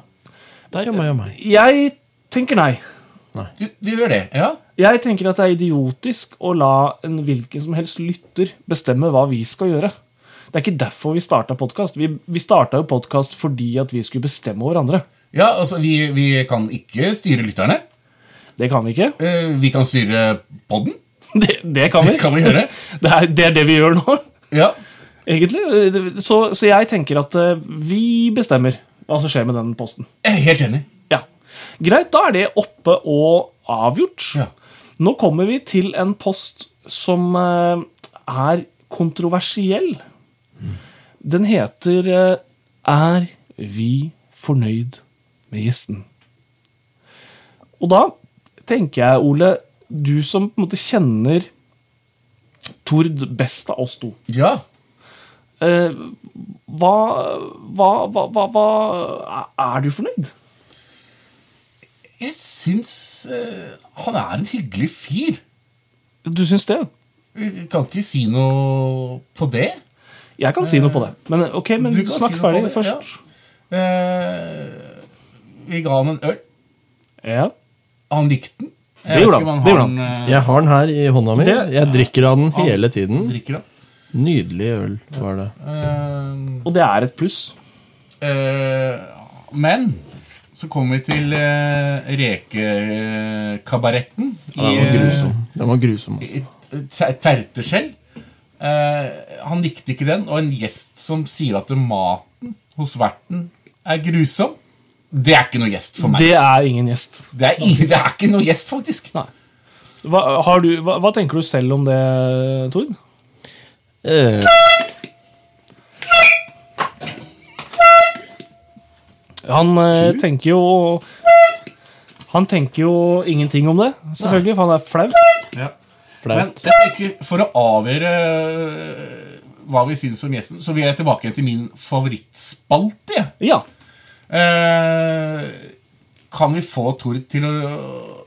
[SPEAKER 3] Det er jo meg og meg.
[SPEAKER 1] Jeg tenker nei.
[SPEAKER 2] Du, du gjør det. Ja.
[SPEAKER 1] Jeg tenker at det er idiotisk å la en hvilken som helst lytter bestemme hva vi skal gjøre. Det er ikke derfor vi starta podkast. Vi, vi starta jo podkast fordi at vi skulle bestemme hverandre.
[SPEAKER 2] ja altså, vi, vi kan ikke styre lytterne.
[SPEAKER 1] Det kan vi ikke. <laughs>
[SPEAKER 2] Eh, Vi kan styre podden.
[SPEAKER 1] Det, det kan vi.
[SPEAKER 2] Det kan
[SPEAKER 1] <laughs>
[SPEAKER 2] vi gjøre.
[SPEAKER 1] Det er det, er det vi gjør nå, <laughs>
[SPEAKER 2] Ja.
[SPEAKER 1] egentlig. Så, så jeg tenker at eh, vi bestemmer hva som skjer med den posten.
[SPEAKER 2] Jeg er helt enig.
[SPEAKER 1] Ja. Greit, da er det oppe og avgjort.
[SPEAKER 2] Ja.
[SPEAKER 1] Nå kommer vi til en post som eh, er kontroversiell. Den heter eh, Er vi fornøyd med gjesten? Og da tenker jeg, Ole, du som på en måte kjenner Tord best av oss to.
[SPEAKER 2] Ja.
[SPEAKER 1] eh, Hva, hva, hva, hva, hva Er du fornøyd?
[SPEAKER 2] Jeg syns eh, han er en hyggelig fyr.
[SPEAKER 1] Du syns det?
[SPEAKER 2] Vi kan ikke si noe på det.
[SPEAKER 1] Jeg kan si noe på det. Men eh, ok, men
[SPEAKER 2] Du kan
[SPEAKER 1] snakk
[SPEAKER 2] si noe på
[SPEAKER 1] ferdig
[SPEAKER 2] det,
[SPEAKER 1] først.
[SPEAKER 2] ja. Eh, vi ga han en øl.
[SPEAKER 1] Ja.
[SPEAKER 2] Han likte den. Jeg
[SPEAKER 1] Det
[SPEAKER 2] vet
[SPEAKER 1] gjorde
[SPEAKER 2] ikke om
[SPEAKER 1] han, det gjorde
[SPEAKER 2] har den, eh,
[SPEAKER 3] Jeg har den her i hånda mi.
[SPEAKER 1] Det-
[SPEAKER 3] Jeg drikker av den hele
[SPEAKER 2] han
[SPEAKER 3] tiden.
[SPEAKER 2] drikker han.
[SPEAKER 3] Nydelig øl var det.
[SPEAKER 2] Eh,
[SPEAKER 1] Og det er et pluss.
[SPEAKER 2] eh, men så kom vi til eh, rekekabaretten. eh,
[SPEAKER 3] Ja, Den var grusom. Den var grusom altså.
[SPEAKER 2] Terteskjell. Eh, han likte ikke den. Og en gjest som sier at maten hos verten er grusom, det er ikke noe gjest for meg.
[SPEAKER 1] Det er ingen gjest.
[SPEAKER 2] Det er, ingen, det er ikke noe gjest, faktisk.
[SPEAKER 1] Nei. Hva, har du, hva, hva tenker du selv om det, Tord?
[SPEAKER 3] Eh,
[SPEAKER 1] Han eh, tenker jo Han tenker jo ingenting om det, selvfølgelig, for han er flau.
[SPEAKER 2] Men
[SPEAKER 3] Flaut.
[SPEAKER 2] jeg tenker, for å avgjøre øh, hva vi syns om gjesten, så vil jeg tilbake igjen til min favorittspalte. jeg.
[SPEAKER 1] Ja.
[SPEAKER 2] Eh, kan vi få Tord til å,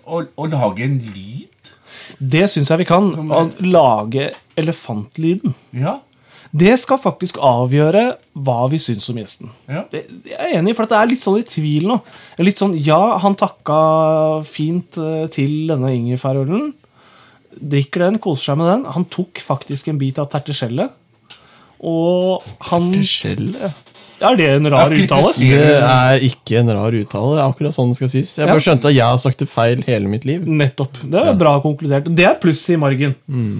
[SPEAKER 2] å, å lage en lyd?
[SPEAKER 1] Det syns jeg vi kan.
[SPEAKER 2] Som-
[SPEAKER 1] Å lage elefantlyden.
[SPEAKER 2] Ja.
[SPEAKER 1] Det skal faktisk avgjøre hva vi syns om gjesten.
[SPEAKER 2] Ja.
[SPEAKER 1] Det, jeg er enig, for at det er litt sånn i tvil nå. Det er Litt sånn, Ja, han takka fint eh, til denne ingefærølen. Drikker den, koser seg med den. Han tok faktisk en bit av terteskjellet. Og han
[SPEAKER 3] Skjell, ja.
[SPEAKER 1] Er det en rar
[SPEAKER 2] Ja,
[SPEAKER 1] uttale?
[SPEAKER 2] kritiser-
[SPEAKER 3] Det er ikke en rar uttale. Det er akkurat sånn det skal sies. Jeg bare skjønte at jeg har sagt det feil hele mitt liv.
[SPEAKER 1] Nettopp. Det er bra konkludert. Det er pluss i margen.
[SPEAKER 3] Mm.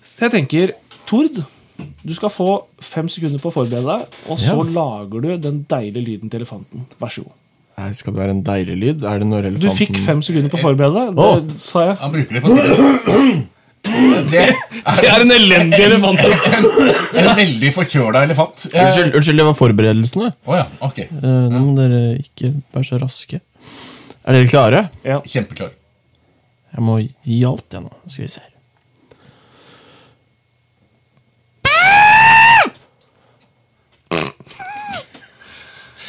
[SPEAKER 1] Så jeg tenker, Tord, du skal få fem sekunder på å forberede deg, og så
[SPEAKER 3] Ja.
[SPEAKER 1] lager du den deilige lyden til elefanten. Vær så god.
[SPEAKER 3] Nei, Skal det være en deilig lyd? Er det når
[SPEAKER 1] Du
[SPEAKER 3] elefanten
[SPEAKER 1] fikk fem sekunder på å forberede deg. Det sa jeg.
[SPEAKER 2] Han bruker det på siden. Det
[SPEAKER 1] Det
[SPEAKER 2] er
[SPEAKER 1] er en elendig elefant.
[SPEAKER 2] en veldig forkjøla elefant. Eh,
[SPEAKER 3] Unnskyld, unnskyld, det var forberedelsene.
[SPEAKER 2] Å ja, ok.
[SPEAKER 3] Eh, Nå må dere ikke være så raske. Er dere klare?
[SPEAKER 1] Ja.
[SPEAKER 2] Kjempeklar.
[SPEAKER 3] Jeg må gi alt, jeg nå. Skal vi se her.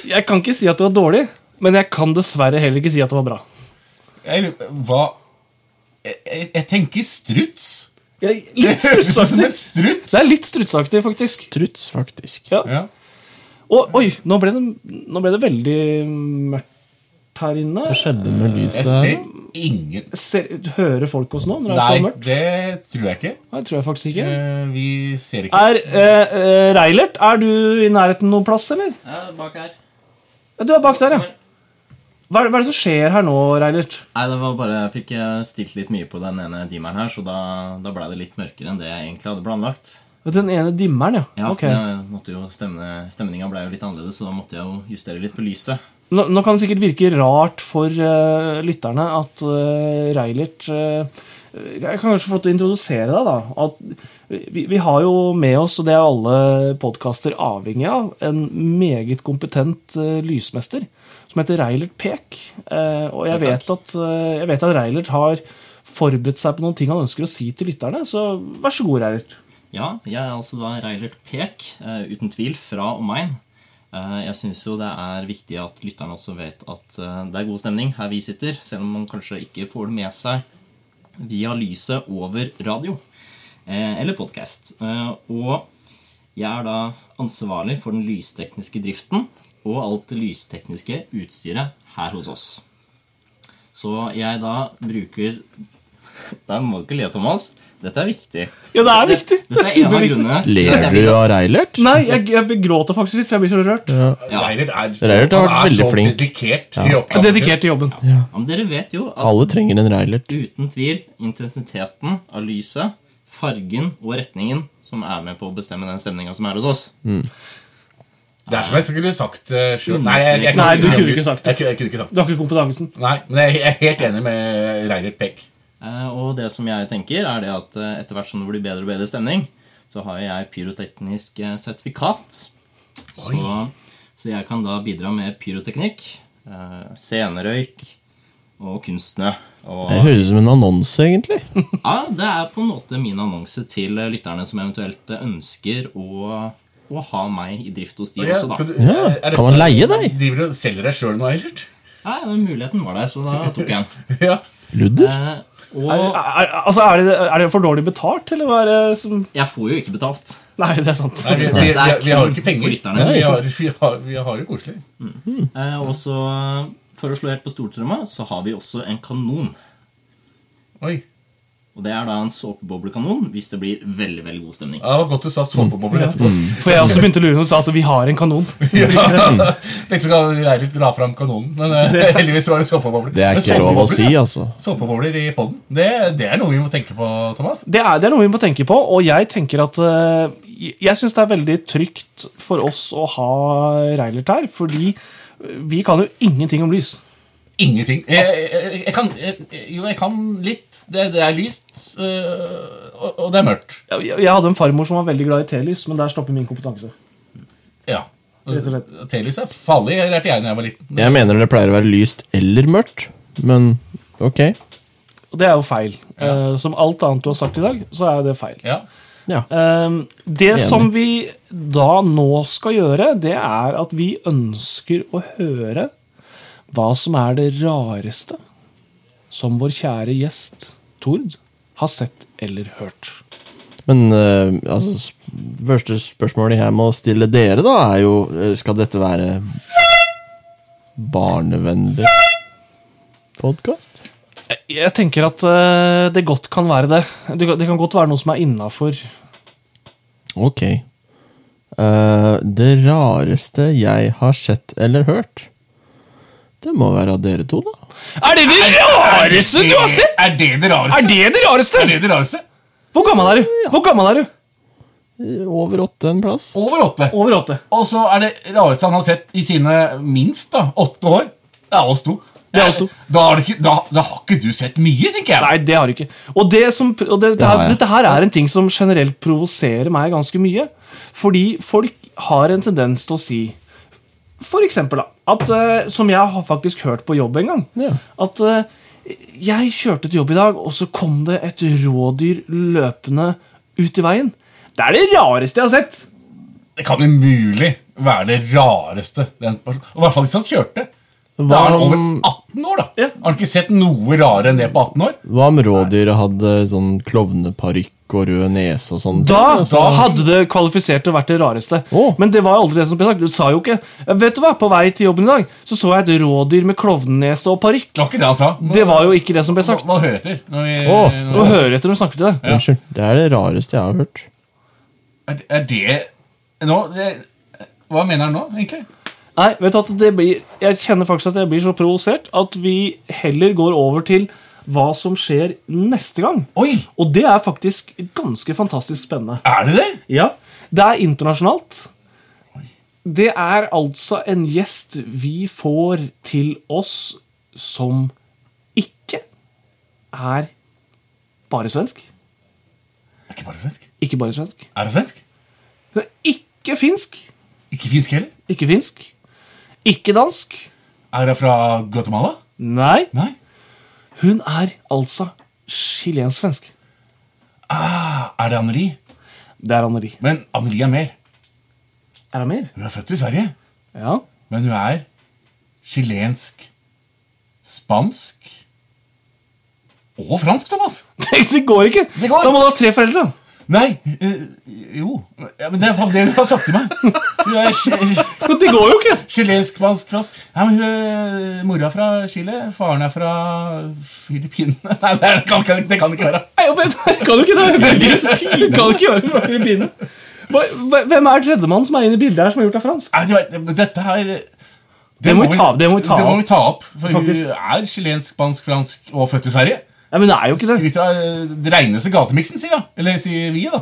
[SPEAKER 1] Jeg kan ikke si at det var dårlig, men jeg kan dessverre heller ikke si at det var bra.
[SPEAKER 2] Jeg, lurer- hva jeg, jeg, jeg tenker struts.
[SPEAKER 1] Jeg,
[SPEAKER 2] Det
[SPEAKER 1] litt
[SPEAKER 2] høres ut som
[SPEAKER 1] strutsaktig.
[SPEAKER 2] en struts.
[SPEAKER 1] Det er litt strutsaktig, faktisk.
[SPEAKER 3] Struts, faktisk.
[SPEAKER 1] Ja.
[SPEAKER 2] Ja.
[SPEAKER 1] Og, oi, nå ble, det, nå ble det veldig mørkt her inne.
[SPEAKER 3] Hva skjedde
[SPEAKER 1] Eh,
[SPEAKER 3] med lyset?
[SPEAKER 2] Jeg
[SPEAKER 3] her?
[SPEAKER 2] ser ingen
[SPEAKER 1] Ser, hører folk oss nå når det er
[SPEAKER 2] Nei,
[SPEAKER 1] så mørkt?
[SPEAKER 2] det tror jeg ikke.
[SPEAKER 1] Nei, tror jeg faktisk ikke.
[SPEAKER 2] Eh, Vi ser ikke.
[SPEAKER 1] Er eh, eh, Reilert, er du i nærheten noen plass, eller?
[SPEAKER 4] Ja, bak her.
[SPEAKER 1] Ja, Du er bak der, ja. Hva er, det- hva er det som skjer her nå, Reilert?
[SPEAKER 4] Nei, det var bare, Jeg fikk eh, stilt litt mye på den ene dimeren her, så da, da ble det litt mørkere enn det jeg egentlig hadde planlagt.
[SPEAKER 1] Den ene dimmeren, ja.
[SPEAKER 4] Ja,
[SPEAKER 1] Ok.
[SPEAKER 4] det måtte jo stemme, Stemninga ble jo litt annerledes, så da måtte jeg jo justere litt på lyset.
[SPEAKER 1] Nå, nå kan det sikkert virke rart for eh, lytterne at eh, Reilert eh, Jeg kan kanskje få lov til å introdusere deg, da. At vi, vi har jo med oss, og det er alle podkaster avhengig av, en meget kompetent eh, lysmester som heter Reilert Pek. Eh, og jeg
[SPEAKER 4] Takk,
[SPEAKER 1] vet, at, eh, jeg vet at Reilert har forberedt seg på noen ting han ønsker å si til lytterne, så vær så god, Reilert.
[SPEAKER 4] Ja, jeg er altså da Reilert Pek, eh, uten tvil, fra omegn. Eh, jeg syns jo det er viktig at lytterne også vet at eh, det er god stemning her vi sitter, selv om man kanskje ikke får det med seg via lyset over radio eh, eller podkast. Eh, og jeg er da ansvarlig for den lystekniske driften og alt det lystekniske utstyret her hos oss. Så jeg da bruker Der må du ikke le, Thomas. Dette er viktig.
[SPEAKER 1] Ja, det er viktig.
[SPEAKER 4] Dette
[SPEAKER 1] Det er
[SPEAKER 4] er en av
[SPEAKER 1] superviktig.
[SPEAKER 4] grunnene til at
[SPEAKER 5] Ler
[SPEAKER 4] jeg
[SPEAKER 5] du
[SPEAKER 4] vil
[SPEAKER 5] av Reilert?
[SPEAKER 1] Nei, jeg, jeg gråter faktisk litt, for jeg blir så rørt.
[SPEAKER 4] Ja.
[SPEAKER 2] Reilert er,
[SPEAKER 5] Reilert har
[SPEAKER 2] han
[SPEAKER 5] vært
[SPEAKER 2] er
[SPEAKER 5] veldig
[SPEAKER 2] så
[SPEAKER 5] flink.
[SPEAKER 2] dedikert i oppgaven sin.
[SPEAKER 1] Dedikert til jobben.
[SPEAKER 4] Ja, men dere vet jo at
[SPEAKER 5] Alle trenger en Reilert.
[SPEAKER 4] uten tvil intensiteten av lyset, fargen og retningen som er med på å bestemme den stemninga som er hos oss.
[SPEAKER 2] Det er som jeg skulle sagt eh, sjøl. Nei, jeg, jeg,
[SPEAKER 1] Nei, du
[SPEAKER 2] jeg,
[SPEAKER 1] kunne ikke sagt det.
[SPEAKER 2] Jeg, kunne- jeg kunne ikke sagt det.
[SPEAKER 1] Du har ikke kompetansen.
[SPEAKER 2] Nei, men jeg, jeg er helt enig med Reilert Pekk.
[SPEAKER 4] Eh, og det som jeg tenker, er det at eh, etter hvert som det blir bedre og bedre stemning, så har jeg pyroteknisk eh, sertifikat. Så, så jeg kan da bidra med pyroteknikk, eh, scenerøyk og kunstsnø. Og
[SPEAKER 5] Det høres ut som en annonse, egentlig.
[SPEAKER 4] ja, det er på en måte min annonse til eh, lytterne som eventuelt eh, ønsker å, å ha meg i drift hos de
[SPEAKER 2] Ja,
[SPEAKER 4] også, da.
[SPEAKER 2] skal du-
[SPEAKER 5] Ja,
[SPEAKER 2] er det-
[SPEAKER 5] kan man leie deg?
[SPEAKER 2] Driver du og selger deg sjøl nå, Reilert?
[SPEAKER 4] Nei, den muligheten var der, så da tok jeg den.
[SPEAKER 2] <laughs> Ja. <laughs>
[SPEAKER 5] Ludder?
[SPEAKER 4] Eh,
[SPEAKER 1] Er,
[SPEAKER 4] og
[SPEAKER 1] er, altså, er det, er det for dårlig betalt, eller hva er det som
[SPEAKER 4] jeg får jo ikke betalt.
[SPEAKER 1] Nei, det er sant.
[SPEAKER 2] Nei, vi, vi, vi, vi har jo ikke penger,
[SPEAKER 4] Flytterne.
[SPEAKER 2] men vi har, vi har, vi har det koselig.
[SPEAKER 4] Eh, og så, for å slå helt på stortromma, så har vi også en kanon.
[SPEAKER 2] Oi.
[SPEAKER 4] Og det er da en såpeboblekanon hvis det blir veldig, veldig god stemning.
[SPEAKER 2] Ja, det var godt du sa såpebobler etterpå.
[SPEAKER 5] Mm.
[SPEAKER 1] For jeg også begynte å lure når du sa at vi har en kanon.
[SPEAKER 2] <laughs> Ja. Tenkte skal Reilert dra fram kanonen, men eh,
[SPEAKER 1] <laughs>
[SPEAKER 2] heldigvis var det såpebobler.
[SPEAKER 5] Det
[SPEAKER 1] Eh,
[SPEAKER 5] er
[SPEAKER 2] Men
[SPEAKER 5] ikke lov å
[SPEAKER 2] såpebobler,
[SPEAKER 5] si,
[SPEAKER 2] ja.
[SPEAKER 5] altså.
[SPEAKER 2] Såpebobler i podden, det, det er noe vi må tenke på, Thomas.
[SPEAKER 1] Det er, det er noe vi må tenke på, og jeg tenker at eh, Jeg syns det er veldig trygt for oss å ha Reilert her, fordi vi kan jo ingenting om lys.
[SPEAKER 2] Ingenting. Jeg, jeg, jeg kan, jeg, jo, jeg kan litt. Det, det er lyst, øh, og, og det er mørkt.
[SPEAKER 1] Jeg, jeg hadde en farmor som var veldig glad i telys, men der stopper min kompetanse.
[SPEAKER 2] Ja.
[SPEAKER 1] Rett og slett.
[SPEAKER 2] Telys er farlig, lærte jeg da jeg var liten.
[SPEAKER 5] Jeg mener det pleier å være lyst eller mørkt, men ok.
[SPEAKER 1] Og det er jo feil. Eh, som alt annet du har sagt i dag, så er det feil.
[SPEAKER 2] Ja.
[SPEAKER 5] Ja.
[SPEAKER 1] Ehm, Det
[SPEAKER 5] Enig.
[SPEAKER 1] som vi da nå skal gjøre, det er at vi ønsker å høre hva som er det rareste som vår kjære gjest Tord har sett eller hørt.
[SPEAKER 5] Men eh, altså, s- første spørsmålet jeg må stille dere, da, er jo eh, Skal dette være barnevennlig podkast?
[SPEAKER 1] Jeg, jeg tenker at eh, det godt kan være det. Det kan- det kan godt være noe som er innafor.
[SPEAKER 5] Ok. Eh, det rareste jeg har sett eller hørt, det må være av dere to, da.
[SPEAKER 1] Er det det rareste du har sett?!
[SPEAKER 2] Er det det
[SPEAKER 1] Er
[SPEAKER 2] rareste?
[SPEAKER 1] det det
[SPEAKER 2] Er
[SPEAKER 1] rareste?!
[SPEAKER 2] det det rareste?
[SPEAKER 1] Hvor gammel er du? Hvor gammel er du?
[SPEAKER 5] Eh, Over åtte en plass.
[SPEAKER 2] Over åtte.
[SPEAKER 1] Over åtte.
[SPEAKER 2] Og så er det rareste han har sett i sine minst da, åtte år. Det er oss to.
[SPEAKER 1] Det er oss to.
[SPEAKER 2] Da har, du ikke, da, da har ikke du sett mye, tenker jeg.
[SPEAKER 1] Nei, det har du ikke. Og, det som, og det, dette,
[SPEAKER 5] har
[SPEAKER 1] her,
[SPEAKER 5] jeg.
[SPEAKER 1] dette her er en ting som generelt provoserer meg ganske mye. Fordi folk har en tendens til å si For eksempel, da, at, eh, som jeg har faktisk hørt på jobb en gang
[SPEAKER 5] Ja.
[SPEAKER 1] At eh, jeg kjørte til jobb i dag, og så kom det et rådyr løpende ut i veien. Det er det rareste jeg har sett!
[SPEAKER 2] Det kan umulig være det rareste. Den personen. Og I hvert fall hvis han kjørte. Da
[SPEAKER 5] Hva
[SPEAKER 2] er han over
[SPEAKER 5] om-
[SPEAKER 2] 18 år, da.
[SPEAKER 1] Ja.
[SPEAKER 2] Har han ikke sett noe rarere enn det på 18 år?
[SPEAKER 5] Hva om rådyret hadde sånn klovneparykk og rød nese og sånn?
[SPEAKER 1] Da,
[SPEAKER 2] da-
[SPEAKER 1] hadde det kvalifisert til å vært det rareste.
[SPEAKER 5] Å.
[SPEAKER 1] Men det var aldri det som ble sagt. Du sa jo ikke Vet du hva, på vei til jobben i dag så så jeg et rådyr med klovnenese og parykk.
[SPEAKER 2] Det var ikke det han sa. Må,
[SPEAKER 1] Det var jo ikke det som ble sagt.
[SPEAKER 2] må, må høre etter. Når vi,
[SPEAKER 5] Å.
[SPEAKER 1] Nå
[SPEAKER 2] når,
[SPEAKER 1] hører jeg etter når de snakker til deg.
[SPEAKER 5] Unnskyld. Det er det rareste jeg har hørt.
[SPEAKER 2] er, er det nå, det, Hva mener han nå, egentlig?
[SPEAKER 1] Nei, vet du at det blir Jeg kjenner faktisk at jeg blir så provosert at vi heller går over til hva som skjer neste gang.
[SPEAKER 2] Oi!
[SPEAKER 1] Og det er faktisk ganske fantastisk spennende.
[SPEAKER 2] Er det det?
[SPEAKER 1] Ja, Det er internasjonalt. Det er altså en gjest vi får til oss som ikke er bare svensk.
[SPEAKER 2] Er ikke bare svensk?
[SPEAKER 1] Ikke bare svensk.
[SPEAKER 2] Er det svensk?
[SPEAKER 1] Hun er ikke finsk.
[SPEAKER 2] Ikke finsk heller?
[SPEAKER 1] Ikke finsk. Ikke dansk.
[SPEAKER 2] Er det fra Guatemala?
[SPEAKER 1] Nei.
[SPEAKER 2] Nei.
[SPEAKER 1] Hun er altså chilensk-svensk.
[SPEAKER 2] Ah, er det Anneli?
[SPEAKER 1] Det er Anneli.
[SPEAKER 2] Men Anneli er mer.
[SPEAKER 1] Er det mer?
[SPEAKER 2] Hun er født i Sverige,
[SPEAKER 1] Ja. <laughs>
[SPEAKER 2] men hun er chilensk, spansk og fransk, Thomas.
[SPEAKER 1] Det går ikke!
[SPEAKER 2] Det går.
[SPEAKER 1] Da må du ha tre foreldre.
[SPEAKER 2] Nei, eh, jo ja, Men det er det hun har sagt til meg. Hun er chi-
[SPEAKER 1] Men det går jo ikke!
[SPEAKER 2] Chilensk, spansk, fransk Nei, men hun, eh, Mora er fra Chile, faren er fra Filippinene <laughs> Nei, det, er, det, kan, det kan ikke være
[SPEAKER 1] Nei, men, kan du ikke <laughs> det? Det er britisk. Du kan ikke gjøre det fra Filippinene. Hva- hva- Hvem er tredjemann som er inne i bildet her, som er gjort av fransk?
[SPEAKER 2] Nei, du vet, men dette her Det,
[SPEAKER 1] må vi ta- det må vi ta
[SPEAKER 2] det må
[SPEAKER 1] opp.
[SPEAKER 2] vi ta opp For
[SPEAKER 1] Faktisk.
[SPEAKER 2] hun er chilensk, spansk, fransk og født i Sverige
[SPEAKER 1] Nei, men det er jo ikke det.
[SPEAKER 2] Skryter av eh, det regneste gatemiksen, sier jeg Eller sier vi da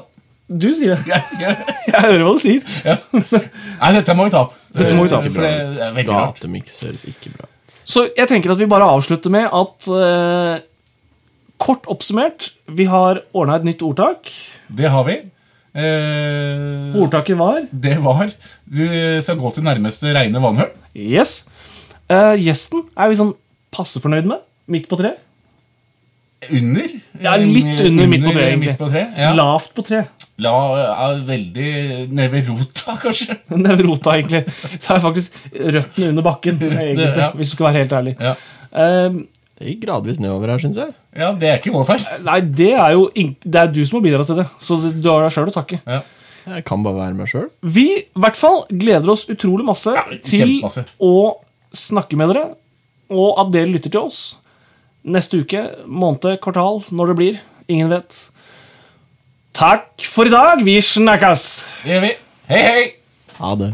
[SPEAKER 1] Du sier det. <laughs>
[SPEAKER 2] Jeg sier-
[SPEAKER 1] Jeg hører hva du sier.
[SPEAKER 2] ja. Nei, dette må vi ta opp Eh,
[SPEAKER 1] Dette må vi ta opp.
[SPEAKER 2] For det er veldig rart
[SPEAKER 5] Datamix høres ikke bra ut.
[SPEAKER 1] Så jeg tenker at vi bare avslutter med at eh, Kort oppsummert, vi har ordna et nytt ordtak.
[SPEAKER 2] Det har vi Eh,
[SPEAKER 1] Ordtaket var
[SPEAKER 2] Det var Du skal gå til nærmeste reine vannhøl.
[SPEAKER 1] Yes. Eh, gjesten er vi sånn passe fornøyd med. Midt på tre.
[SPEAKER 2] Under?
[SPEAKER 1] Ja, litt under midt på tre, egentlig.
[SPEAKER 2] Mm, midt på tre, ja. La,
[SPEAKER 1] Lavt på <laughs> tre.
[SPEAKER 2] er veldig ned ved rota, kanskje.
[SPEAKER 1] Det er rota, egentlig. Så er faktisk røttene under
[SPEAKER 2] <laughs>
[SPEAKER 1] bakken, egentlig,
[SPEAKER 2] ja.
[SPEAKER 1] hvis du skal være helt ærlig.
[SPEAKER 2] Ja.
[SPEAKER 1] Eh,
[SPEAKER 5] Det gikk gradvis nedover her, syns jeg.
[SPEAKER 2] ja, det er ikke vår feil.
[SPEAKER 1] Nei, det er jo ing- det er du som har bidratt til det, så det- du har deg sjøl å takke.
[SPEAKER 2] Ja.
[SPEAKER 5] Jeg kan bare være meg sjøl.
[SPEAKER 1] Vi i hvert fall gleder oss utrolig masse til
[SPEAKER 2] kjempemasse.
[SPEAKER 1] å snakke med dere, og at dere lytter til oss neste uke, måned, kvartal, når det blir. Ingen vet. Takk for i dag. Vi snakkes!
[SPEAKER 2] Det gjør vi. Hei, hei!
[SPEAKER 5] Ha det.